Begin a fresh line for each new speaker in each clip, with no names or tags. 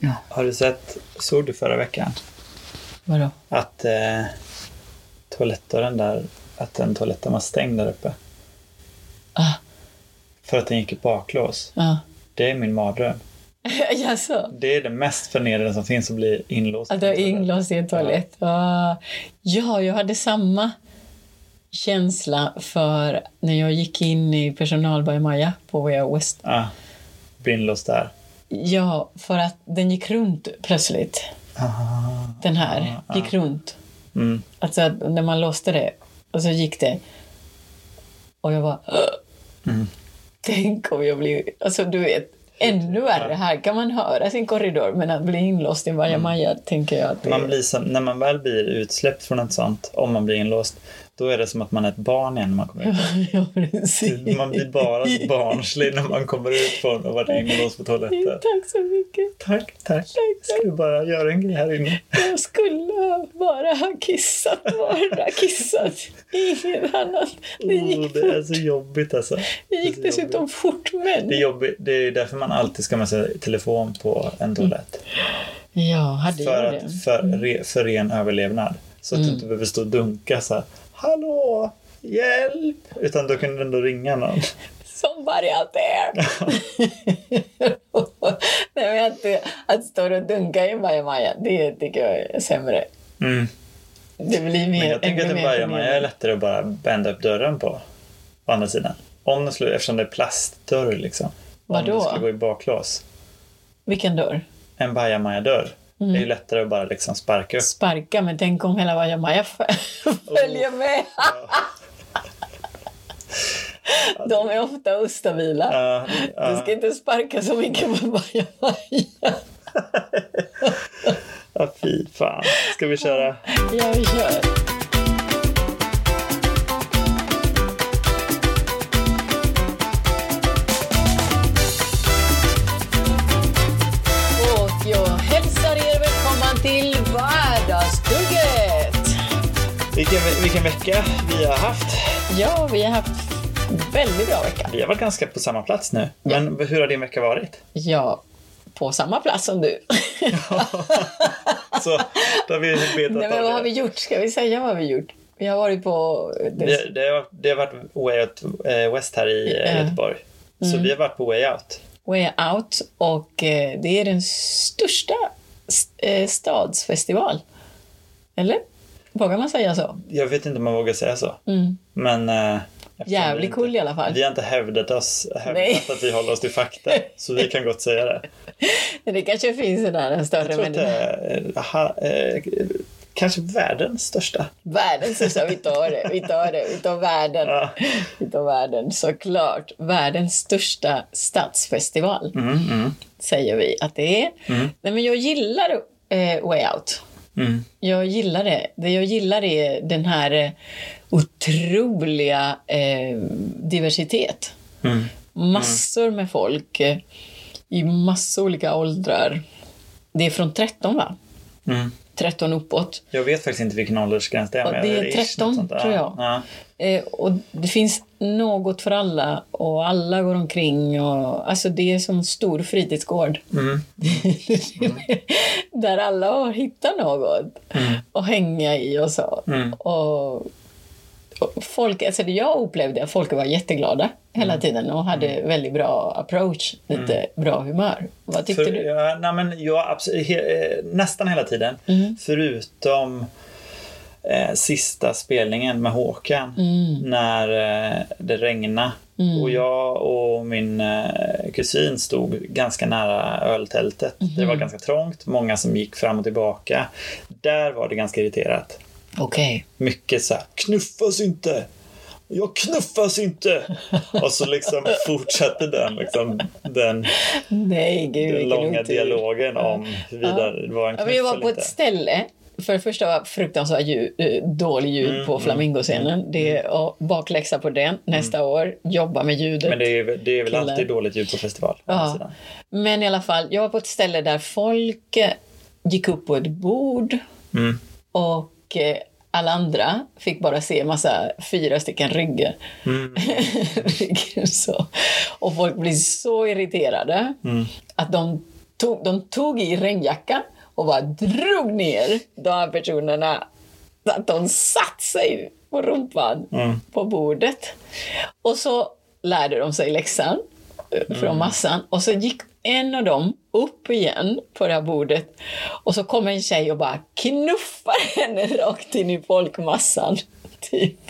Ja.
Har du sett, såg du förra veckan
Vadå?
att eh, toalettdörren där, att den toaletten var stängd där uppe?
Ah,
För att den gick i baklås.
ja.
Det är min mardröm.
Jaså?
Det är det mest förnedrande som finns att bli inlåst.
Att du har inlåst i en toalett? Ah. Ja, jag hade samma känsla för när jag gick in i personalbajmaja på Way Out West.
Ja. Bli inlåst där.
Ja, för att den gick runt plötsligt.
Ah.
Den här gick runt.
Mm.
Alltså att när man låste det och så gick det. Och jag bara... "Åh!"
Mm.
Tänk om jag blir... Alltså du vet, ännu värre. Här kan man höra sin korridor men att bli inlåst i bajamaja tänker jag att det
Mm. Man blir som, när man väl blir utsläppt från ett sånt, om man blir inlåst, då är det som att man är ett barn igen när man kommer ut.
ja, precis.
Man blir bara så barnslig när man kommer ut från att vara inlåst på toaletten.
Tack så mycket.
Tack, tack. Jag skulle bara göra en grej här inne.
Jag skulle bara ha kissat, bara kissat. Inget annat. Det
Oh,
gick,
det är så jobbigt alltså.
det gick
det är så
dessutom fort men...
Det är, jobbigt. det är därför man alltid ska ha med sig telefon på en toalett.
Mm. Ja, hade
För,
jag det. Mm.
att, för, re, för ren överlevnad. Så att du inte behöver stå och dunka så här. Hallå! Hjälp! Utan då kunde du ändå ringa någon.
Somebody out there! Nej, men att, att stå och dunka i en bajamaja, det tycker jag är sämre.
Mm.
Det blir mer...
Men jag tänker att
ännu
en
mer
bajamaja är
förnedrande.
lättare att bara bända upp dörren på. Å andra sidan. Om den skulle, eftersom det är plastdörr liksom. Om
Vadå?
det skulle gå i baklås.
Vilken dörr?
En bajamaja-dörr. Det är ju lättare att bara liksom sparka upp.
Mm. Sparka, men tänk om hela bajamaja
Oh.
f- följer med. De är ofta ostabila.
Ja,
Du
ja.
ska inte sparka så mycket på bajamaja.
Ja, fy fan. Ska vi köra?
Ja, vi kör. Och jag hälsar er välkomna till Vardagsplugget!
Vilken, vilken vecka vi har haft.
Ja, vi har haft väldigt bra vecka.
Vi har varit ganska på samma plats nu. Men hur har din vecka varit?
Ja, på samma plats som du.
Så, då har vi betat
Nej,
av
men vad
det.
har vi gjort? Ska vi säga vad har vi gjort? Vi har varit på...
Det, det, har, det har varit Way Out eh, West här i eh,
Ja. Mm.
Göteborg. Så vi har varit på Way Out.
Way Out och eh, det är den största s- eh, stadsfestival. Eller? Vågar man säga så?
Jag vet inte om man vågar säga så. Men... Eh, eftersom vi
Mm. Jävligt
inte-
cool i alla fall.
Vi har inte hävdat oss,
Nej.
hävdat att vi håller oss till fakta. Så vi kan gott säga det.
Men Det kanske finns en annan
Jag
större
tror att det
människa.
är eh, ha, eh, kanske världens största.
Världen, så sa vi tar det, vi tar det, vi tar världen.
Ja.
Vi tar världen, såklart. Världens största stadsfestival,
Mm.
säger vi att det är. Nej, men jag gillar eh, Way Out.
Mm.
Jag gillar det. Det jag gillar är den här eh, otroliga eh, diversitet.
Mm.
Massor med folk eh, i massor olika åldrar. Det är från 13, va?
Mm.
13 uppåt.
Jag vet faktiskt inte vilken åldersgräns det är.
Ja,
men
det är
ish, något
13,
sånt där.
tror jag.
Ja.
Eh, och det finns något för alla och alla går omkring. Och, alltså det är som en stor fritidsgård. Mm.
Mm.
Där alla har hittat något att hänga i och så.
Mm.
Och, och folk, alltså det jag upplevde att folk var jätteglada hela
Mm.
tiden och hade väldigt bra approach, lite bra humör. Vad tyckte
För,
du?
ja, nej, men jag absolut, he, eh, nästan hela tiden.
Mm.
Förutom eh, sista spelningen med Håkan.
Mm.
När eh, det regnade. Och jag och min eh, kusin stod ganska nära öltältet. Det
Mm.
var ganska trångt. Många som gick fram och tillbaka. Där var det ganska irriterat.
Okej.
mycket så här, knuffas inte! Jag knuffas inte! Och så liksom fortsatte den, liksom, den,
Nej, gud
den
vilken
långa
otur.
dialogen om huruvida det var en
Ja,
knuff
men jag var
eller
på
inte.
ett ställe. För det första var fruktansvärt ljud, eh, dålig ljud
Mm,
på flamingoscenen. Det är och bakläxa på den nästa år. Jobba med ljudet.
Mm. Men det är, det är väl
Killar.
alltid dåligt ljud på festival. å andra
ja.
sidan.
men i alla fall, jag var på ett ställe där folk eh, gick upp på ett bord
Mm.
och eh, alla andra fick bara se massa fyra stycken ryggar. Ryggar så. Och folk blir så irriterade att de tog, de tog i regnjackan och bara drog ner de här personerna så att de satt sig på rumpan
Mm.
på bordet. Och så lärde de sig läxan eh, från massan och så gick en av dem upp igen på det här bordet och så kom en tjej och bara knuffar henne rakt in i folkmassan. Typ.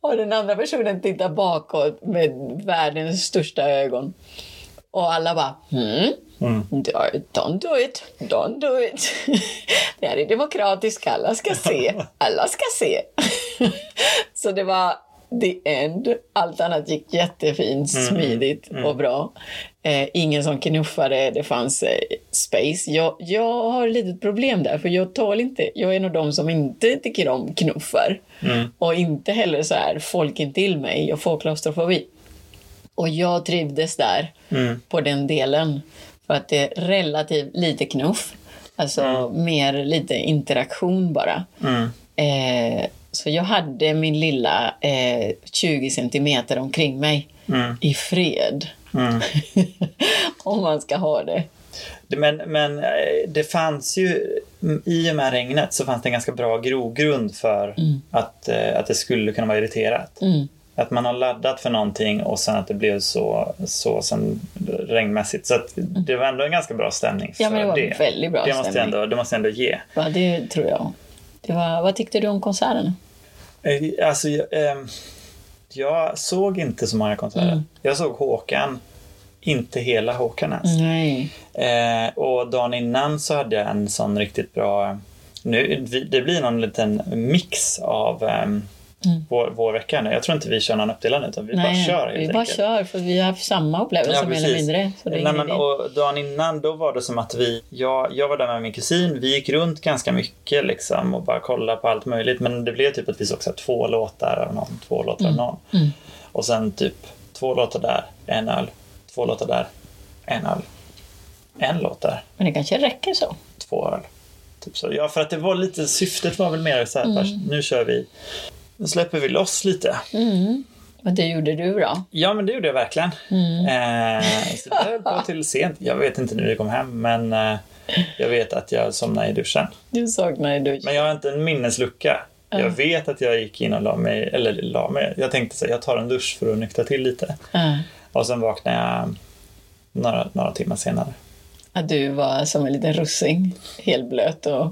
Och den andra personen tittar bakåt med världens största ögon. Och alla bara hmm,
Mm.
do- don't do it, don't do it. Det här är demokratiskt, alla ska se, alla ska se. Så det var the end. Allt annat gick jättefint, smidigt och bra. Eh, ingen som knuffade, det fanns eh, space. Jag, jag har ett litet problem där, för jag tål inte, jag är en av de som inte tycker om knuffar. Och inte heller så här, folk intill mig, jag får klaustrofobi. Och jag trivdes där
Mm.
på den delen. För att det är relativt lite knuff. Alltså mer lite interaktion bara.
Mm.
Eh, så jag hade min lilla eh, 20 centimeter omkring mig
Mm.
i fred.
Mm.
Om man ska ha det.
Det- Men, men eh, det fanns ju, mm, i och med regnet så fanns det en ganska bra grogrund för att, eh, att det skulle kunna vara irriterat.
Mm.
Att man har laddat för någonting och sen att det blev så, så sen regnmässigt. Så att det var ändå en ganska bra stämning.
Ja,
för
men det var en väldigt bra
det måste jag
stämning.
Ändå, det måste jag ändå ge.
Va, det tror jag. Det var, vad tyckte du om konserten?
Eh, Alltså, jag, ehm, jag såg inte så många konserter.
Mm.
Jag såg Håkan, inte hela Håkan ens.
Mm. Nej.
Eh, och dagen innan så hade jag en sån riktigt bra... Nu, vi- det blir någon liten mix av ehm, vår, vår vecka nu. Jag tror inte vi kör någon uppdelad utan vi bara
Mm. Nej,
kör helt
vi bara
enkelt.
kör för vi har haft samma upplevelse mer eller mindre. Så det är
Nej,
ingen
men,
idé.
och dagen innan då var det som att vi, jag, jag var där med min kusin, vi gick runt ganska
Mm.
mycket liksom och bara kollade på allt möjligt. Men det blev typ att vi såg så här, två låtar av någon, två låtar
Mm.
av någon. Och sen typ två låtar där, en öl, två låtar där, en öl, en låt där,
Men det kanske räcker så.
två öl. Typ så. Ja, för att det var lite, syftet var väl mer så här, "Fast
Mm.
nu kör vi, nu släpper vi loss lite.
Mm. Och det gjorde du då?
Ja, men det gjorde jag verkligen. Eh, så det höll på till sent. Jag vet inte när vi kom hem, men eh, jag vet att jag somnade i duschen.
Du saknade du.
Men jag har inte en minneslucka. Jag vet att jag gick in och la mig, eller la mig. Jag tänkte så här, jag tar en dusch för att nyktra till lite.
Ja.
Och sen vaknade jag några, några timmar senare.
Att du var som en liten russin, helblöt och...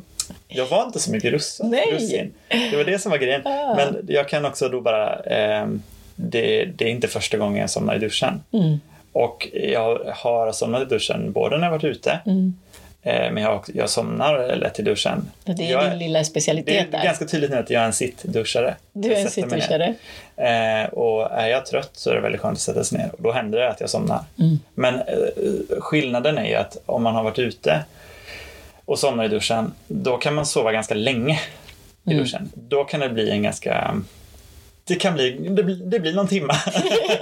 Jag var inte så mycket russ,
Nej.
russin. Det var det som var grejen.
Ah.
Men jag kan också då bara... ehm, det, det är inte första gången jag somnar i duschen.
Mm.
Och jag har somnat i duschen både när jag varit ute,
Mm.
eh, men jag, har också- jag somnar lätt i duschen.
Det är
jag,
din lilla
det är
specialitet där.
ganska tydligt nu att jag är en sittduschare.
Du är en
Jag sätter mig ner.
sittduschare.
Eh, och är jag trött så är det väldigt skönt att sätta sig ner och då händer det att jag somnar.
Mm.
Men eh, skillnaden är ju att om man har varit ute och somnar i duschen, då kan man sova ganska länge i
Mm.
duschen. Då kan det bli en ganska... Det kan bli... Det blir, det blir någon timma.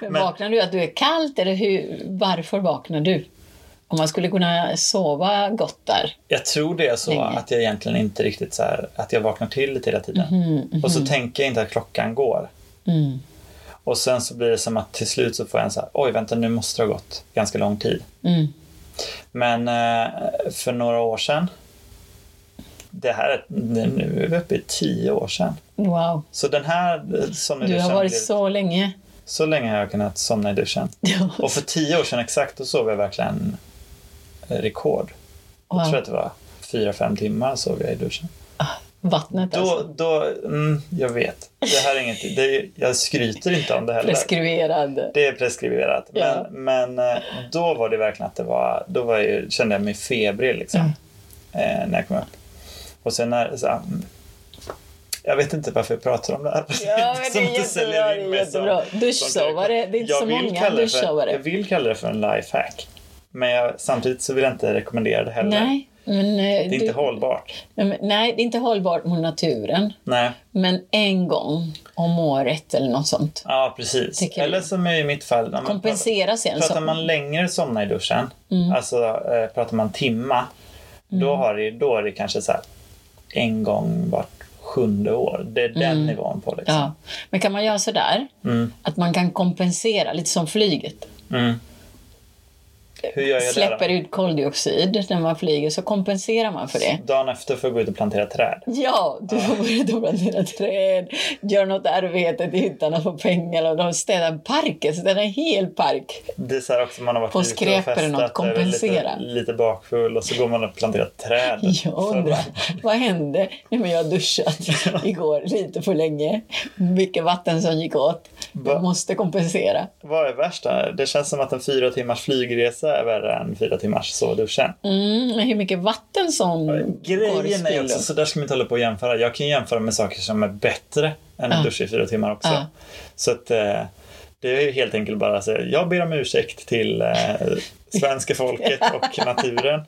Men
men-
vaknar du att du är kallt eller hur, varför vaknar du? Om man skulle kunna sova gott där.
jag tror det är så
Länge.
att jag egentligen inte riktigt så här, att jag vaknar till lite hela tiden.
Mhm,
Och så tänker jag inte att klockan går.
Mm.
Och sen så blir det som att till slut så får jag en så här, oj vänta nu måste det ha gått ganska lång tid.
Mm.
Men eh, för några år sedan, det här är, nu är vi uppe i tio år sedan.
Wow.
Så den här eh, som i
Du
duschen
har varit
blev-
så länge.
så länge har jag kunnat somna i duschen. Och för tio år sedan exakt, då sov jag verkligen eh, rekord. Jag tror
Wow.
att det var fyra, fem timmar sov jag i duschen.
Vattnet
Då,
alltså.
då, mm, jag vet. Det här är inget, det är, jag skryter inte om det heller.
Preskriberad.
Det är preskriberat.
Ja.
Men, men eh, då var det verkligen att det var, då var jag, ju- kände jag mig febrig liksom.
Mm.
Eh, när jag kom upp. Och sen när, så, mm, jag vet inte varför jag pratar om det här.
Ja, men det är
Som inte säljer
jättebra,
in
det är
mig som-
jättebra.
som
Duschsovare, det är inte
jag
så
vill
många
kalla det för-
duschsovare.
Jag vill kalla det för en lifehack. Men jag, samtidigt så vill jag inte rekommendera det heller.
Nej, men, eh, det
Det är inte hållbart.
nej, det är inte hållbart mot naturen.
Nej,
Men en gång om året eller något sånt.
ja precis.
Tycker jag.
Eller som i mitt fall. när man pratar-
Kompensera Mm. sen.
Pratar
så-
man längre somna i duschen, alltså eh, pratar man timma,
Mm.
då, har det, då är det kanske så här en gång vart sjunde år. Det är den
Mm.
nivån på liksom. Mm.
Ja. Men kan man göra sådär? Att man kan kompensera, lite som flyget.
Mm. Hur gör jag
släpper
det
ut koldioxid när man flyger så kompenserar man för det.
då? Dagen efter får jag gå ut och plantera träd.
Ja, du får börja plantera dina träd, gör något arbete utan att få pengar. Och de städar en park, alltså den är en hel park.
Det är så här också, man har varit
På
ute och
skräp eller
festat,
något,
är
kompensera.
Lite, lite bakfull och så går man och planterar träd.
Jag undrar, vad hände? Nej, men jag har duschat igår lite för länge. Mycket vatten som gick åt.
Va?
Jag måste kompensera.
Vad är värst där? Det känns som att en fyra timmars flygresa är värre än fyra timmars sovduschen.
Mm, men hur mycket vatten som går i
Grejen är
spillo?
också, så där ska man inte hålla på och jämföra. Jag kan jämföra med saker som är bättre än en
Ja.
dusch i fyra timmar också.
Ja.
Så att eh, det är ju helt enkelt bara att säga, jag ber om ursäkt till eh, svenska folket och naturen.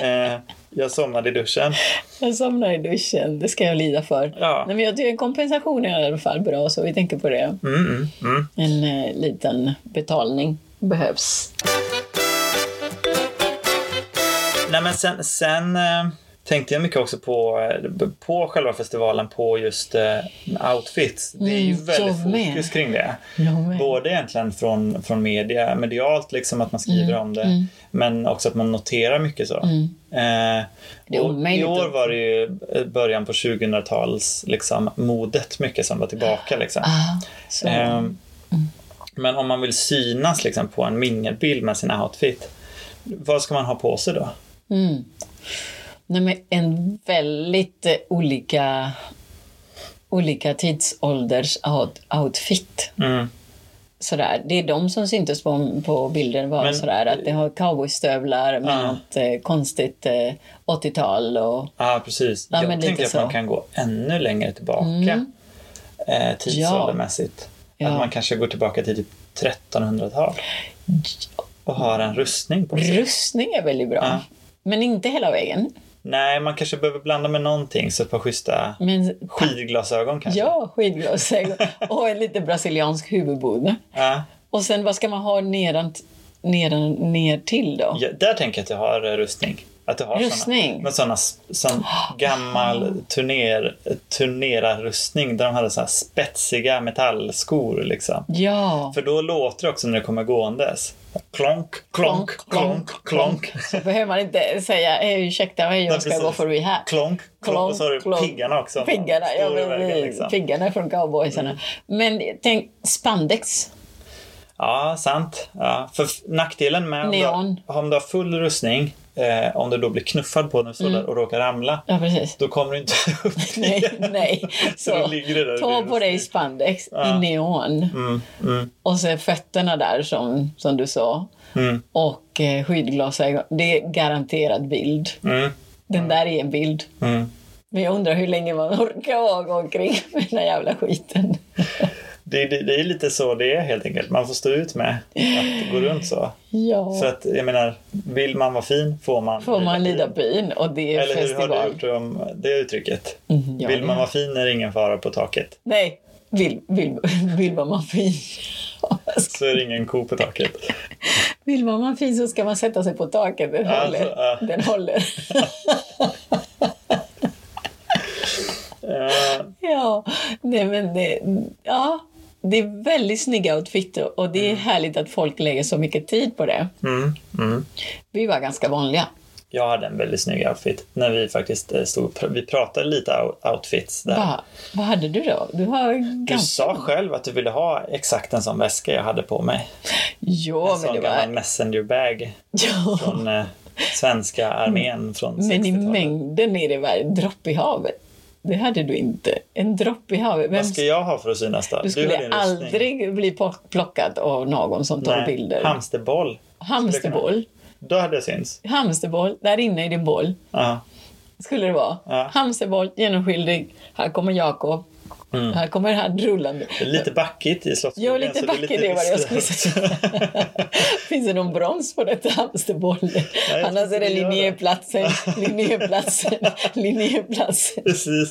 Eh, jag somnade i duschen.
Jag somnar i duschen, det ska jag lida för.
Ja.
Nej, men jag tycker en kompensation är i alla fall bra, så vi tänker på det.
Mm, mm, mm.
En eh, liten betalning behövs.
Nej men sen, sen eh, tänkte jag mycket också på, eh, på själva festivalen, på just eh, outfits. Det är ju
Mm,
väldigt
jag med.
fokus kring det.
Jag med.
Både egentligen från, från media, medialt, liksom att man skriver
Mm.
om det, men också att man noterar mycket så. Eh,
Det är
och I
omöjligt
år
att-
var det ju eh, början på 2000-tals liksom, modet mycket som var tillbaka. Liksom.
Ah, så. Mm.
Ehm, Men om man vill synas liksom, på en mingelbild med sin outfit, vad ska man ha på sig då?
Mm. Nej, men en väldigt eh, olika, olika tidsålders out- outfit.
Mm.
Sådär. Det är de som syntes på, på bilden var
Men-
sådär att det har cowboystövlar med
Ah.
något eh, konstigt eh, 80-tal och
Ja, precis.
Ja, men
jag
lite
tänker att
så. Mm.
man kan gå ännu längre tillbaka eh, tidsåldermässigt.
Ja.
Att man kanske går tillbaka till typ 1300-tal och har en rustning på sig.
Rustning är väldigt bra.
Ja.
Men inte hela vägen.
Nej, man kanske behöver blanda med någonting, så ett par schyssta
Men
skidglasögon kanske.
ja, skidglasögon och en lite brasiliansk huvudbonad.
Ja.
Och sen vad ska man ha nedan, nedan, ner till då?
Ja, där tänker jag att jag har eh, rustning. Att du har
Rustning?
Såna, men såna, s- sån gammal turner, turnerarrustning där de hade såna här spetsiga metallskor liksom.
Ja,
För då låter det också när det kommer gåendes. Klonk, klonk, klonk, klonk.
så behöver man inte säga "Eh, ursäkta mig, jag
Nej,
ska
precis.
gå förbi här.
Klonk, klonk. Och så har du
klonk.
piggarna också.
Piggarna, ja,
Står i
men,
vägen, liksom. Mm.
piggarna från cowboysarna. Men tänk spandex.
Ja, sant. Ja. För f- nackdelen med om du, har-
Neon.
om du har full rustning, eh, om du då blir knuffad på när du står där och råkar ramla,
Ja, precis.
då kommer du inte upp
Mm. Nej,
igen.
nej.
Så då ligger det där i
ta
din
på dig
rustning.
spandex
Ja.
i neon.
Mm, mm,
Och sen fötterna där som, som du sa.
mm,
Och eh, skydglasögon. Det är garanterat bild.
mm,
Den där är en bild.
mm.
Men jag undrar hur länge man orkar gå omkring med den här jävla skiten.
Det, det, det är lite så det är helt enkelt. Man får stå ut med att gå runt så.
Ja.
För att jag menar, vill man vara fin får man
Får man lida bin och det är
Eller hur
festival.
har du gjort om det uttrycket?
Mm, ja,
vill
det-
man vara fin är det ingen fara på taket.
Nej, vill, vill, vill man vara fin.
Så är det ingen ko på taket.
Vill man vara fin så ska man sätta sig på taket. Den
Alltså,
håller.
ja.
Den håller.
Eh,
Ja, nej men det, ja, det är väldigt snygga outfit och det är härligt att folk lägger så mycket tid på det.
mm, mm.
Vi var ganska vanliga.
Jag hade en väldigt snygg outfit när vi faktiskt eh, stod och pr- vi pratade lite out- outfits där.
Va, vad hade du då? Du har
Du
ganska...
sa själv att du ville ha exakt en sån väska jag hade på mig.
Ja,
en
men
sån
det
gammal
var...
messengerbag
Ja,
från eh, svenska armén från
men i
60-talet.
mängden är det varje dropp i havet. Det hade du inte. En dropp i havet. Vem...
Vad ska jag ha för att synas då?
Du
har
skulle
din rustning.
aldrig bli po- plockad av någon som tar
Nej,
bilder.
Hamsterboll.
Hamsterboll.
Då hade jag syns.
Hamsterboll, där inne i din boll.
Ja.
skulle det vara.
Ja.
Hamsterboll, genomskinlig. Här kommer Jakob. Här kommer han rullande.
Mm. Det är Lite backigt i Slottsskogen.
Ja, lite
så
backigt, det var det jag skulle
riskabelt.
Finns det någon brons på detta hamsterbollen?
jag
Annars
tror
är
inte
det
det gör det.
linjeplatsen, linjeplatsen, linjeplatsen.
Precis.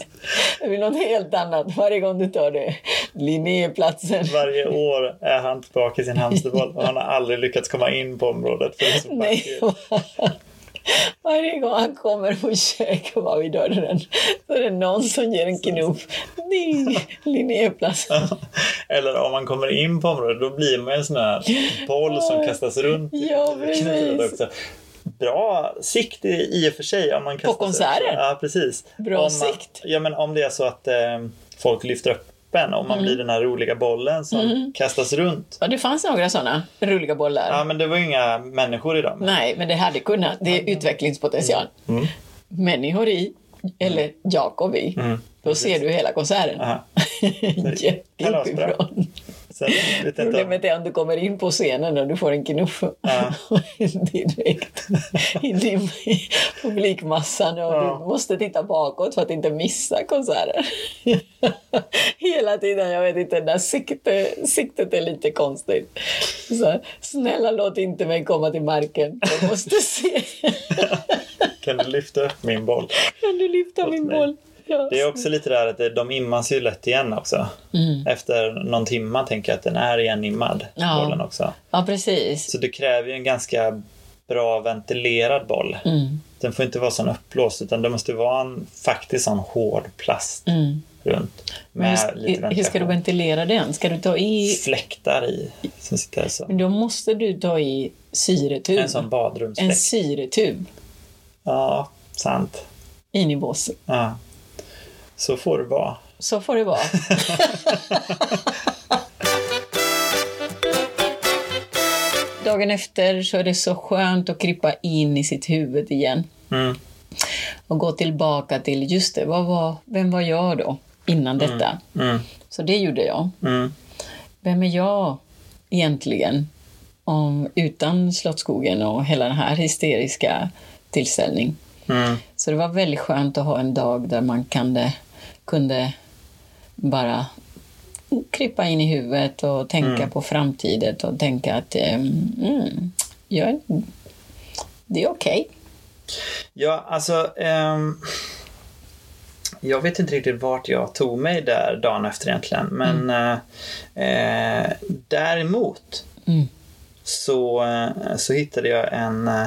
Det blir något helt annat varje gång du tar det. Linjeplatsen.
Varje år är han tillbaka i sin hamsterboll och han har aldrig lyckats komma in på området. För det är så
Nej.
backigt.
Varje gång han kommer och försöker vara vid dörren så är det någon som ger en knuff. Ding! Linnéplats.
Eller om man kommer in på området, då blir man en sån här boll som kastas runt. i
Ja, precis.
kniven också. Bra sikt i i och för sig. Om man kastar sig-
konserter.
Ja, precis.
Bra
om man,
sikt.
Ja, men om det är så att eh, folk lyfter upp en och man
Mm.
blir den här roliga bollen som kastas runt.
Ja, det fanns några sådana roliga bollar.
Ja, men det var ju inga människor i dem.
Nej, men det hade kunnat. Det är utvecklingspotential. Människor i, eller Jakob i. Då ser du hela konserten.
Aha.
Jätteuppifrån.
Kalasbra. Sen vet jag inte om...
Problemet är om du kommer in på scenen och du får en knuff
Ja.
direkt in i publikmassan och
Ja.
du måste titta bakåt för att inte missa konserter. Hela tiden, jag vet inte, när sikte, siktet är lite konstigt. Så, snälla låt inte mig komma till marken, jag måste se.
Kan du lyfta upp min boll?
Kan du lyfta min
mig.
boll? Ja.
Det är också lite där att det- de immas ju lätt igen också.
Mm.
Efter någon timma tänker jag att den är igenimmad,
Ja.
bollen också.
ja, precis.
Så det kräver ju en ganska bra ventilerad boll.
Mm,
Den får inte vara sån uppblåst utan det måste vara en faktiskt sån hård plast
mm.
runt.
Men
Med lite
hur, hur ska du
ventilation.
ventilera den? Ska du ta i
Fläktar i som sitter så.
Men då måste du ta i syretub.
En sån badrumsfläkt.
En syretub
Ja, sant.
in i båsen.
Ja. Så får det vara.
Så får det vara. Dagen efter så är det så skönt att krypa in i sitt huvud igen
Mm.
och gå tillbaka till, just det, vad var, vem var jag då innan detta?
Mm.
Så det gjorde jag.
Mm.
Vem är jag egentligen om, utan Slottsskogen och hela den här hysteriska tillställningen?
Mm.
Så det var väldigt skönt att ha en dag där man kunde, kunde bara krypa in i huvudet och tänka
Mm.
på framtiden och tänka att eh, mm, jag, det är okej.
Ja, alltså... ehm, jag vet inte riktigt vart jag tog mig där dagen efter egentligen. Men eh, eh, däremot
Mm.
så, eh, så hittade jag en... eh,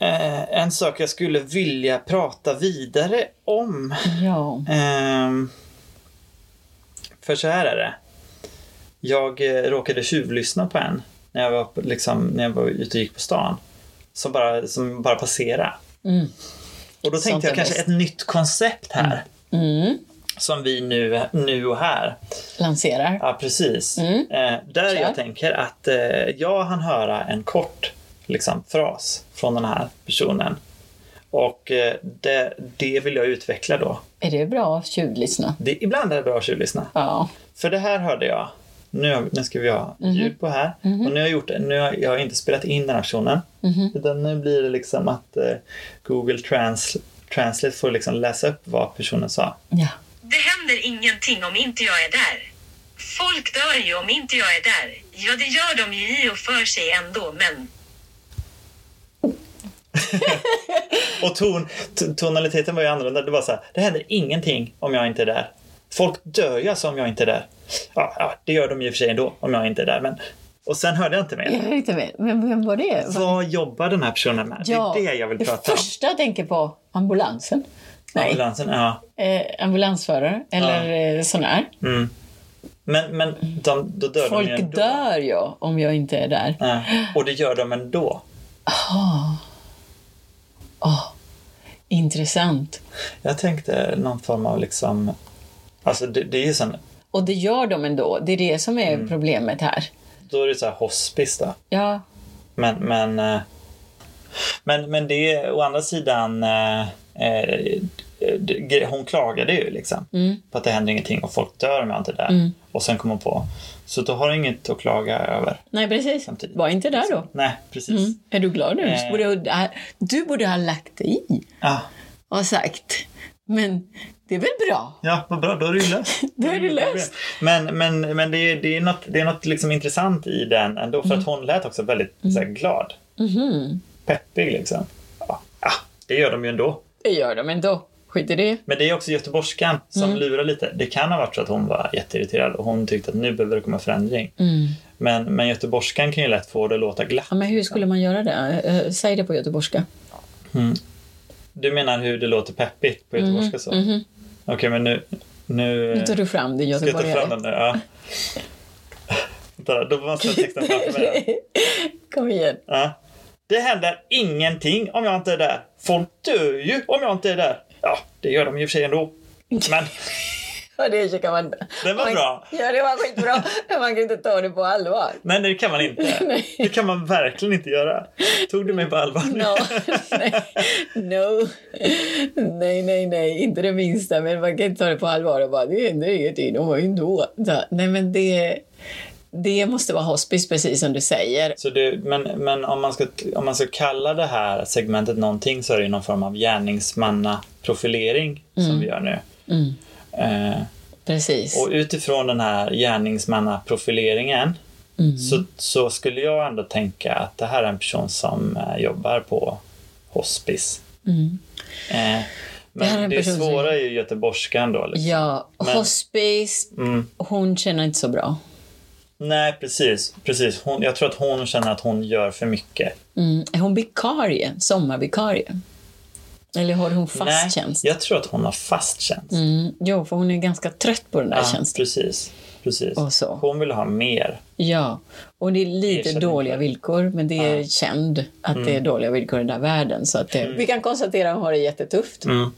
eh, en sak jag skulle vilja prata vidare om.
Ja.
Ehm, för så här är det. Jag eh, råkade tjuvlyssna på en när jag var, på- liksom, när jag var ute och gick på stan. Som bara, som bara passerade.
Mm.
Och då tänkte
Sånt är
jag kanske
bäst.
ett nytt koncept här.
Mm.
Som vi nu, nu och här.
Lanserar.
Ja, precis.
Mm.
Eh, där
Kör.
jag tänker att eh, jag hann höra en kort liksom, fras från den här personen. Och eh, det, det vill jag utveckla då.
Är det bra att tjuvlyssna?
Det, ibland är det bra att tjuvlyssna.
Ja.
För det här hörde jag. Nu, har- nu ska vi ha
Mhm.
ljud på här. Och nu har jag gjort det. Nu har jag har inte spelat in den här personen.
Mhm.
Utan nu blir det liksom att eh, Google Trans, Translate får liksom läsa upp vad personen sa.
ja.
Det händer ingenting om inte jag är där. Folk dör ju om inte jag är där. Ja, det gör de ju i och för sig ändå, men
Och ton, t- tonaliteten var ju annorlunda. Det var så här, det händer ingenting om jag inte är där. Folk dör ju alltså om jag inte är där. Ja, ja det gör de ju i och för sig ändå om jag inte är där. Men... Och sen hörde jag inte mer.
Jag vet inte mer. Vem, vem var det?
Vad jobbar den här personen med?
Ja,
Det är det jag vill prata om.
första jag tänker på, ambulansen. Nej,
Ambulansen, ja.
eh, ambulansförare eller eh, sån här.
Mm. Men, men de, då dör de ju
Folk
ändå.
dör ju om jag inte är där.
Ja. Och det gör de ändå.
Intressant.
Jag tänkte någon form av liksom... Alltså det, det är ju sen...
Och det gör de ändå. Det är det som är
Mm.
problemet här.
Då är det så här hospice då.
Ja,
Men, men, eh, men, men det är å andra sidan... eh, eh, det- gre- Hon klagade ju liksom
Mm.
på att det händer ingenting och folk dör om jag inte är där. Och sen kom hon på. Så då har jag inget att klaga över.
nej precis.
Samtidigt.
Var inte där då.
Nej, precis.
Mm. Är du glad nu?
Eh.
Du borde ha- Du borde ha lagt dig i
Ah,
och sagt, men det är väl bra?
ja, vad bra. Då är Mm, det ju löst.
Då är det löst.
Men, men, men det, är, det, är något, det är något liksom intressant i den ändå. För
Mm.
att hon lät också väldigt så här, glad.
Mhm.
Peppig liksom. Ja, ah, det gör de ju ändå.
Det gör de ändå. Skit i det.
Men det är också göteborgskan
Mm.
som lurar lite. Det kan ha varit så att hon var jätteirriterad och hon tyckte att nu behöver det komma förändring. Men, men göteborgskan kan ju lätt få det att låta glatt.
Mm. Ja, men hur skulle man göra det? Eh, Säg det på göteborgska.
Du menar hur det låter peppigt på göteborgska så? Okej, men nu... Nu,
Mm, mm-hmm. Nu tar du fram din
Ska jag ta fram
göteborgare.
den nu? Ja. Vänta, Då måste jag texten framför mig. då.
Kom igen.
Ja. Det händer ingenting om jag inte är där. Folk dör ju om jag inte är där. Ja, det gör de i och för sig ändå. Men
Ja, det kan man...
Den var
man,
bra.
Ja, det var skitbra. Men man kan ju inte ta det på allvar.
nej, det kan man inte.
Nej.
Det kan man verkligen inte göra. Tog du mig på allvar nu?
No. nej. No. nej, nej, nej, inte det minsta. Men man kan inte ta det på allvar och bara, det händer ingenting, de var ju ändå. Så, nej, men det, det måste vara hospice, precis som du säger.
Så det, men men om, man ska, om man ska kalla det här segmentet någonting så är det ju någon form av gärningsmannaprofilering
Mm.
som vi gör nu. Eh,
Precis.
och utifrån den här gärningsmannaprofileringen
Mm.
så, så skulle jag ändå tänka att det här är en person som eh, jobbar på hospice. Eh,
Mm. Det här är
men det,
en person som-
svåra är ju göteborgskan då. Liksom.
ja,
Men- Mm.
hospice, hon känner inte så bra.
Nej, precis. precis. Hon, jag tror att hon känner att hon gör för mycket.
Mm. Är hon vikarie? Sommarvikarie? Eller har hon fast
Nej,
tjänst?
jag tror att hon har fast tjänst.
Mm. Jo, för hon är ganska trött på den där
Ja,
tjänsten.
Precis. precis.
Och så.
Hon vill ha mer.
Ja, och det är lite
Ersättning
dåliga
för- Mm.
villkor, men det är känd att det är dåliga villkor i den där världen. Så att det, Vi kan konstatera att hon har det jättetufft.
Mm.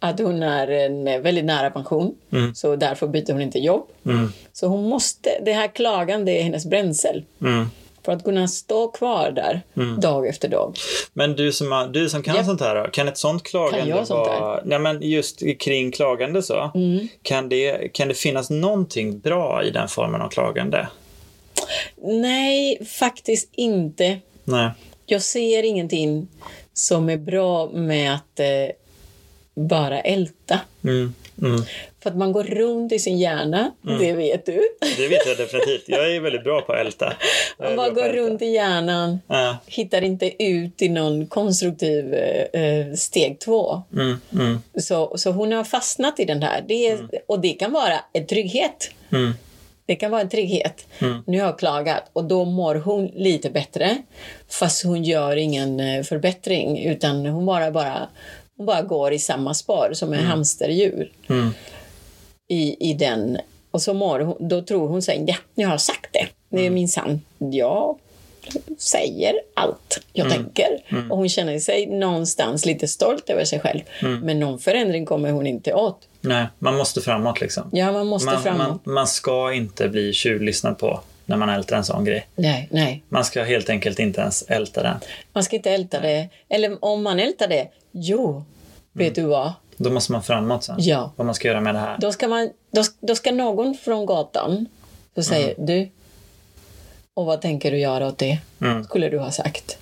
Att hon är en eh, väldigt nära pension,
Mm.
så därför byter hon inte jobb. Så hon måste, det här klagan, det är hennes bränsel.
Mm.
För att kunna stå kvar där dag efter dag.
Men du som, har- du som kan
Ja.
sånt här då, kan ett sånt klagande
Kan jag sånt Mm. här?
vara... Nej, men just kring klagande så, kan, det, kan det finnas någonting bra i den formen av klagande?
Nej, faktiskt inte.
Nej.
Jag ser ingenting som är bra med att eh, bara älta.
Mm. Mm.
För att man går runt i sin hjärna, det vet du.
Det vet jag definitivt. Jag är väldigt bra på att älta. Jag
Man
är bra
bara
på
går
att älta.
runt i hjärnan,
Ja.
hittar inte ut i någon konstruktiv eh, eh, steg två.
Mm, mm,
Så, så hon har fastnat i den där. Det är, Och det kan vara en trygghet.
mm,
Det kan vara en trygghet. Nu har jag klagat och då mår hon lite bättre. Fast hon gör ingen eh, förbättring utan hon bara, bara, hon bara går i samma spår som en hamsterdjur.
mm.
i, i den. Och så mår hon, då tror hon sig, ja, nu har jag sagt det. Det
Mm.
är minsann, jag säger allt jag
Mm.
tänker. Och hon känner sig någonstans lite stolt över sig själv.
Mm.
Men någon förändring kommer hon inte åt.
Nej, man måste framåt liksom.
Ja, man måste
man,
framåt.
man, man ska inte bli tjuvlyssnad på när man ältar en sån grej.
Nej, nej.
Man ska helt enkelt inte ens älta den.
Man ska inte älta det. Eller om man ältar det, jo, vet
Mm.
du vad?
Då måste man framåt sen.
Ja.
Vad man ska göra med det här.
Då ska, man, då, då ska någon från gatan då säger du, och vad tänker du göra åt det?
Mm.
Skulle du ha sagt.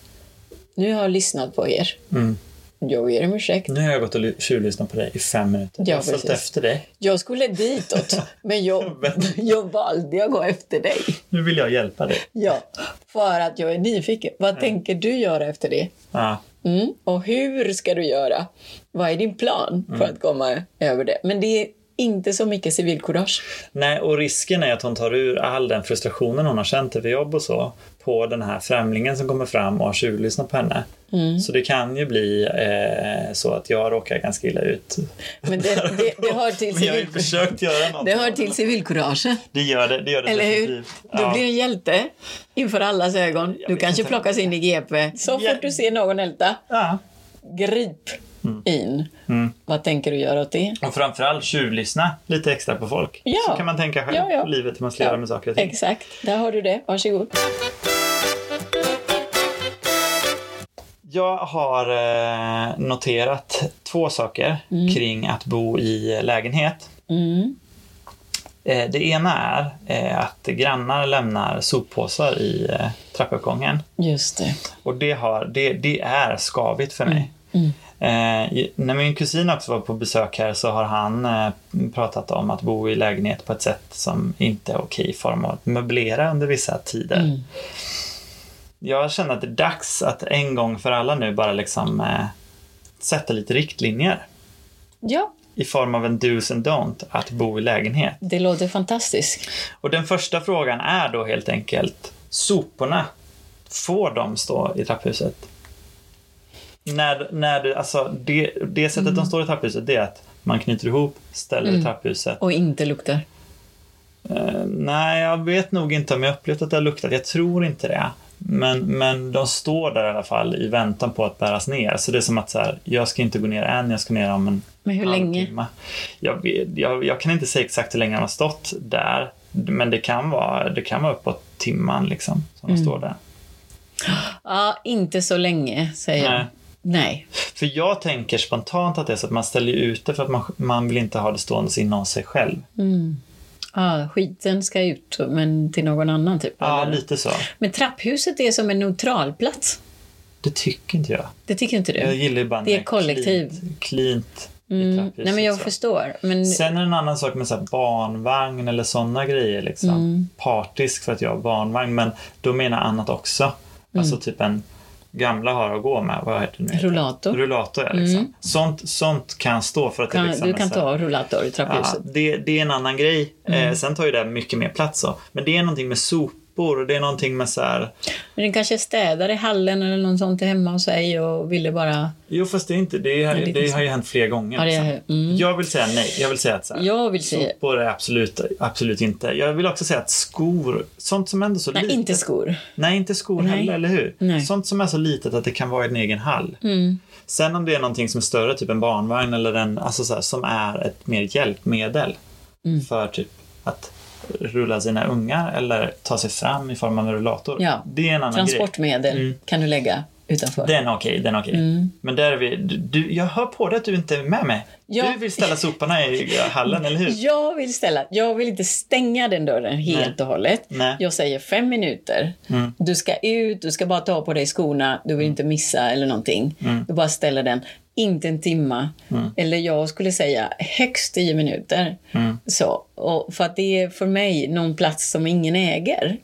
Nu har jag lyssnat på er.
Mm.
Jag ber om ursäkt.
Nu har jag gått och ly- tjuvlyssnat på dig i fem minuter.
Ja,
jag har följt
precis.
efter dig.
Jag skulle ditåt, men jag, jag valde att gå efter dig.
Nu vill jag hjälpa dig.
Ja, för att jag är nyfiken. Vad
Mm.
tänker du göra efter det?
Ja.
Mm. Och hur ska du göra? Vad är din plan för
Mm.
att komma över det? Men det är inte så mycket civilkurage.
Nej, och risken är att hon tar ur all den frustrationen hon har känt över jobb och så på den här främlingen som kommer fram och har tjuvlyssnat på henne.
Mm.
Så det kan ju bli eh, så att jag råkar ganska illa ut.
Men det, det, det hör till
Men jag har ju
civilkurage.
försökt göra någonting.
Det hör till civilkurage.
Det gör det, det, gör det
Eller hur? Du
definitivt. Ja.
blir en hjälte inför allas ögon. Du kanske plockas in i GP. Så
Ja.
fort du ser någon älta,
Ja.
grip
Mm.
in. Vad tänker du göra åt det?
Och framförallt tjuvlyssna lite extra på folk.
Ja.
Så kan man tänka själv
Ja, ja.
på livet hur man ska göra med saker och ting.
Exakt, där har du det. Varsågod.
Jag har eh, noterat två saker kring att bo i lägenhet.
Mm.
Eh, det ena är eh, att grannar lämnar soppåsar i eh, trappuppgången.
Just det.
Och det, har, det, det är skavigt för mig. Eh, i- när min kusin också var på besök här så har han eh, pratat om att bo i lägenhet på ett sätt som inte är okej form av att möblera under vissa tider. Jag känner att det är dags att en gång för alla nu bara liksom eh, sätta lite riktlinjer
Ja,
i form av en do's and don't att bo i lägenhet.
Det låter fantastiskt.
Och den första frågan är då helt enkelt, soporna, får de stå i trapphuset? När, när det, alltså det, det sättet de står i trapphuset, det är att man knyter ihop, ställer i trapphuset.
Och inte luktar.
Eh, nej, jag vet nog inte om jag upplevt att det har luktat. Jag tror inte det. Men, men de står där i alla fall i väntan på att bäras ner. Så det är som att så här, jag ska inte gå ner än, jag ska ner om en
Men hur länge?
halvtimme. Jag, vet- jag, jag kan inte säga exakt hur länge de har stått där. Men det kan vara, det kan vara uppåt timman liksom, som
Mm.
de står där.
Ja, inte så länge, säger
Nej.
jag. Nej.
För jag tänker spontant att det är så att man ställer ju ut det för att man, man vill inte ha det stående inom sig själv.
Mm. Ja, skiten ska ut, men till någon annan typ.
Ja,
eller?
lite så.
Men trapphuset är som en neutralplats.
Det tycker inte jag.
Det tycker inte du?
Jag gillar ju bara
Det är
när
kollektiv.
Cleant, cleant i
Mm.
trapphuset
Nej, men jag
så.
förstår. Men
Sen är det en annan sak med så här barnvagn eller sådana grejer. Liksom.
Mm.
Partisk för att jag har barnvagn, men då menar jag annat också.
Mm.
Alltså typ en gamla har att gå med. Vad heter det nu?
Rullator.
Rullator, ja. Liksom. Sånt, sånt kan stå för att
kan,
det liksom
du
är
kan
så här-
ta Mm. rullator i
Ja,
trapphuset.
det, det är en annan grej. Eh, sen tar ju det mycket mer plats. Så. Men det är någonting med sopor och det är någonting med så här...
Men den kanske städar i hallen eller något sånt hemma hos sig och ville bara...
Jo, fast det är inte... Det, är,
det är
det,
inte
har ju hänt flera gånger.
Ja, det
liksom.
är- mm.
Jag vill säga nej. Jag vill säga att så här,
Jag vill säga...
sopor är absolut, absolut inte... Jag vill också säga att skor, sånt som ändå så
Nej,
litet...
inte skor.
Nej, inte skor
Nej.
heller, eller hur?
Nej. Mm.
Sånt som är så litet att det kan vara i en egen hall. Sen om det är någonting som är större, typ en barnvagn eller en, alltså så här, som är ett mer hjälpmedel
Mm.
för typ att rulla sina ungar eller ta sig fram i form av en rullator.
Ja.
Det är en annan grej. Mm.
Transportmedel kan du lägga utanför.
Den är okej, den är okej.
Mm.
Men där är vi, du- du, jag hör på dig att du inte är med mig.
Ja.
Du vill ställa soporna i hallen, eller hur?
Jag vill ställa, jag vill inte stänga den dörren helt och hållet.
Nej. Mm.
Jag säger fem minuter. Du ska ut, du ska bara ta på dig skorna, du vill inte missa eller någonting.
Mm.
Du bara ställer den. Inte en timma. Eller jag skulle säga högst tio minuter.
Mm.
Så, och för att det är för mig någon plats som ingen äger.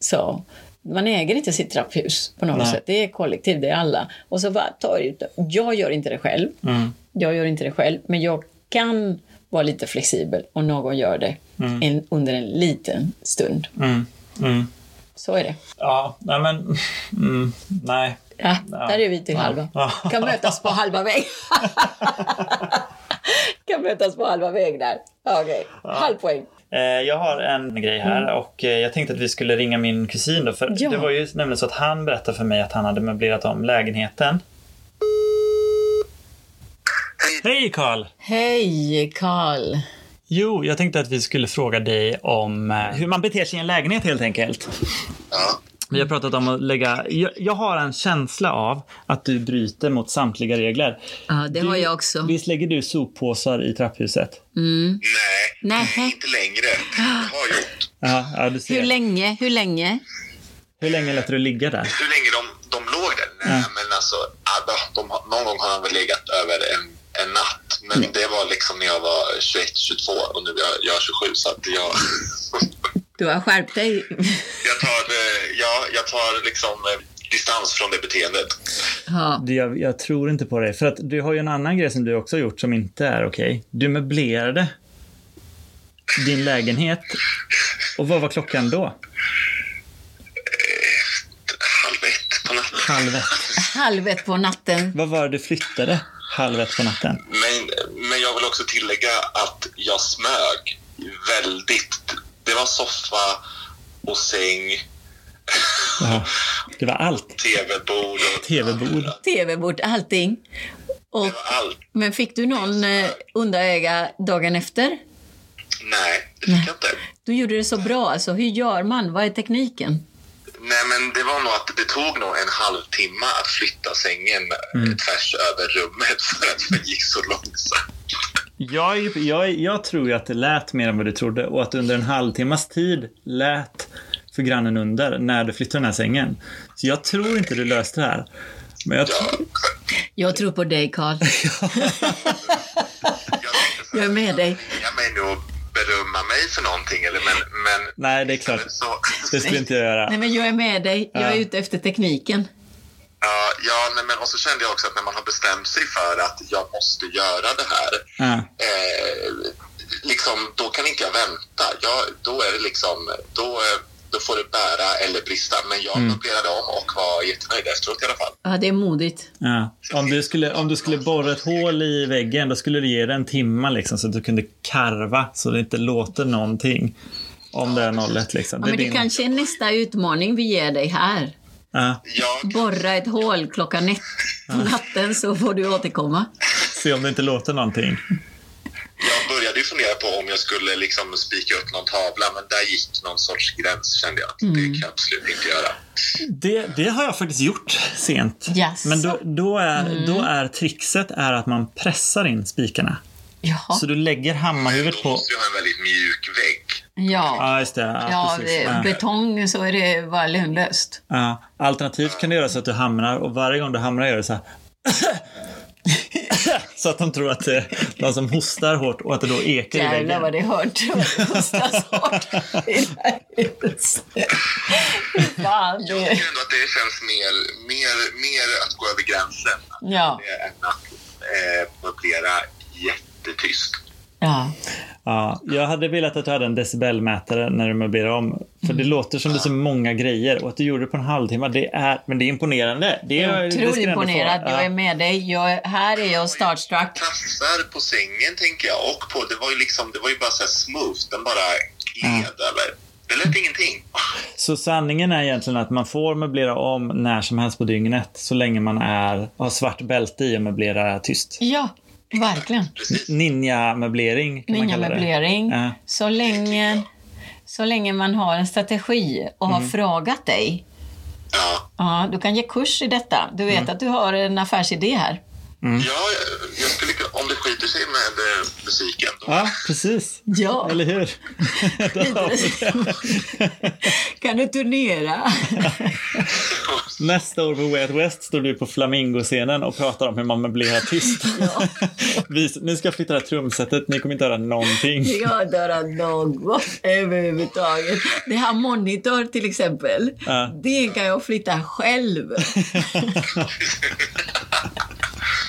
Så man äger inte sitt trapphus på något
Nej.
sätt. Det är kollektiv, det är alla. Och så bara tar jag ut Jag gör inte det själv.
Mm.
Jag gör inte det själv, men jag kan vara lite flexibel om någon gör det en, under en liten stund.
Mm. Mm.
Så är det.
Ja, nej men... Mm, nej.
Ja,
Ja.
Där är vi till
Ja.
halva.
Ja.
Kan mötas på halva väg. kan mötas på halva väg där. Okej, halv poäng.
Eh, Jag har en grej här och eh, jag tänkte att vi skulle ringa min kusin då. För
Mm. Ja.
Det var ju nämligen så att han berättade för mig att han hade möblerat om lägenheten. Hej Karl!
Hej, Karl.
Jo, jag tänkte att vi skulle fråga dig om eh, hur man beter sig i en lägenhet helt enkelt.
Ja,
Vi har pratat om att lägga... Jag, jag har en känsla av att du bryter mot samtliga regler.
Ja, det har jag också.
Visst lägger du soppåsar i trapphuset?
nej,
Nej.
inte längre. Det har gjort.
Ja, ja du ser.
Hur länge? Hur länge?
hur länge lät du ligga där?
Hur länge de, de låg där? Nej, men alltså, ja, de, de, har- någon gång har han väl legat över en, en natt. Men det var liksom när jag var 21, 22 och nu är jag, jag är 27 så att jag,
Du har skärpt dig.
jag, tar, eh, jag, jag tar liksom eh, distans från det beteendet.
Ja.
Du, Jag, jag tror inte på dig. För att du har ju en annan grej som du också har gjort som inte är okej. Du möblerade din lägenhet. Och vad var klockan då?
Halv ett på natten.
Halv ett.
Halv ett på natten.
Vad var det du flyttade halv ett på natten?
Men, men jag vill också tillägga att jag smög väldigt. Det var soffa och säng,
Jaha. Det var allt.
tv-bord och
TV-bord.
TV-bord, allting. Och,
allt.
men fick du någon eh, underöga dagen efter?
Nej, det fick jag inte.
Du gjorde det så bra. Alltså, hur gör man? Vad är tekniken?
Nej, men det var nog att det tog nog en halvtimme att flytta sängen
Mm.
eh, tvärs över rummet för att det gick så långsamt.
Jag, är ju- jag, är- jag tror ju att det lät mer än vad du trodde och att under en halvtimmas tid lät för grannen under när du flyttade den här sängen. Så jag tror inte du löste det här. Men jag tror...
Jag tror på dig, Karl.
Jag tänkte så
Jag är
här,
med dig.
jag mig nog berömma mig för någonting, eller men... men
Nej, det är klart.
så,
Det skulle inte jag göra.
Nej, men jag är med dig. Jag är ute efter tekniken.
Ja, ja nej, men och så kände jag också att när man har bestämt sig för att jag måste göra det här,
Ja.
eh, liksom, då kan inte jag vänta. Jag, då är det liksom, då, eh, då får det bära eller brista. Men jag
Mm.
möblerade om och var jättenöjd efteråt i alla fall.
Ja, det är modigt.
Ja. Om, du skulle, om du skulle borra ett hål i väggen då skulle det ge dig en timma liksom, så att du kunde karva så det inte låter någonting. Om det är nollet liksom.
Ja, men det
din-
kanske är nästa utmaning vi ger dig här.
ja,
Jag,
Borra ett hål klockan ett på natten så får du återkomma.
se om det inte låter någonting.
jag började ju fundera på om jag skulle liksom spika upp någon tavla, men där gick någon sorts gräns kände jag. att
Mm.
Det kan jag absolut inte göra.
Det, det har jag faktiskt gjort sent.
Jaså?
Men då, då, är,
Mm.
då är trixet är att man pressar in spikarna.
Ja,
Så du lägger hammarhuvudet
Då
på...
måste jag ha en väldigt mjuk vägg.
ja.
Ja, just det. Ja,
ja
precis.
det,
Ja.
betong så är det bara lönlöst.
Ja. Alternativt kan du göra så att du hamnar och varje gång du hamnar gör du så här. så att de tror att det är någon som hostar hårt och att det då ekar i
Jävlar
väggen.
vad det hört. Kostas hårt i det här huset. Fy Fan,
Jag
det.
tycker ändå att det känns mer, mer, mer att gå över gränsen
Ja,
eh, än att eh, möblera jättetyst.
ja.
Ja, jag hade velat att du hade en decibelmätare när du möblerar om. För
Mm.
det låter som det är så många grejer och att du gjorde det på en halvtimme, det är, men det är imponerande. Det är, det
Otroligt
ska du ändå få.
imponerad. Jag
Ja.
är med dig. Jag, är- här är jag startstruck.
tassar på sängen tänker jag och på, det var ju liksom, det var ju bara så här smooth, den bara gled över. Det lät ingenting.
Så sanningen är egentligen att man får möblera om när som helst på dygnet så länge man är, har svart bälte i och möblera tyst.
Ja, verkligen.
Precis.
Ninja-möblering kan man kalla det.
Ninjamöblering.
Ja.
Så, länge, så länge man har en strategi och
Mm.
har frågat dig.
Ja,
Ja, du kan ge kurs i detta. Du
Mm.
vet att du har en affärsidé här.
ja jag- jag skulle, kunna- om det skiter sig med eh, musiken då.
Ja, precis.
Ja,
Eller hur? Då har vi det.
kan du turnera?
Nästa år på Way Out West står du på flamingoscenen och pratar om hur man möblerar tyst. Vis, nu ska jag flytta det här trumsetet, ni kommer inte höra någonting.
Jag dör något överhuvudtaget. Det här monitor till exempel,
Ja.
det kan jag flytta själv.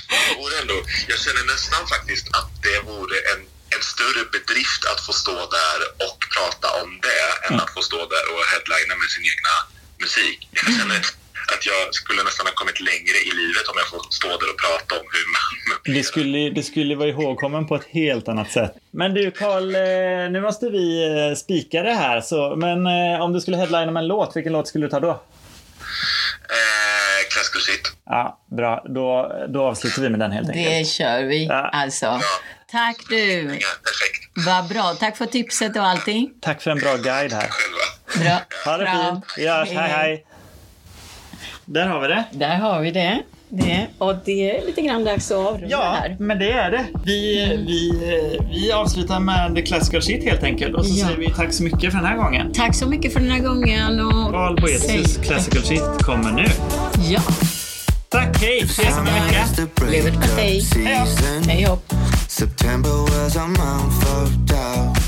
Det vore ändå, jag känner nästan faktiskt att det vore en, en större bedrift att få stå där och prata om det än att få stå där och headlina med sin egna musik. Jag känner att jag skulle nästan ha kommit längre i livet om jag får stå där och prata om hur man
Det skulle, det skulle vara ihågkommen på ett helt annat sätt. Men du Karl, eh, nu måste vi eh, spika det här. Så, men eh, om du skulle headlina med en låt, vilken låt skulle du ta då?
Eh, Classical shit.
Ja, bra. Då, då avslutar vi med den helt enkelt.
Det kör vi
Ja.
alltså. Tack du,
Ja, perfekt.
vad bra. Tack för tipset och allting.
Tack för en bra guide här.
Själva.
Bra.
Ha det
Bra.
fint. Vi hörs. Hej, hej. Där har vi det.
Där har vi det. det. Och det är lite grann dags att avrunda
Ja,
här.
men det är det. Vi, vi, vi avslutar med The Classical Shit helt enkelt. Och så
Ja.
säger vi tack så mycket för den här gången.
Tack så mycket för den här gången. Och
Karl Boetius
Säg-
Classical Shit kommer nu.
Ja,
Tack, hej! Ses om en vecka.
It's the break
Leave it
of
at eight.
season.
hej hopp.
September was a month of doubt.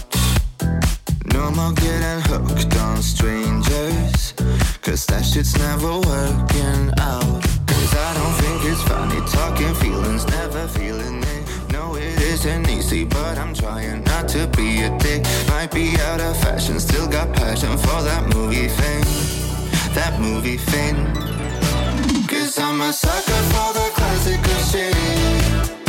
No more getting hooked on strangers. Cause that shit's never working out. Cause I don't think it's funny talking feelings, never feeling it. No, it isn't easy, but I'm trying not to be a dick. Might be out of fashion, still got passion for that movie thing. That movie thing. Cause I'm a sucker for the classical shit.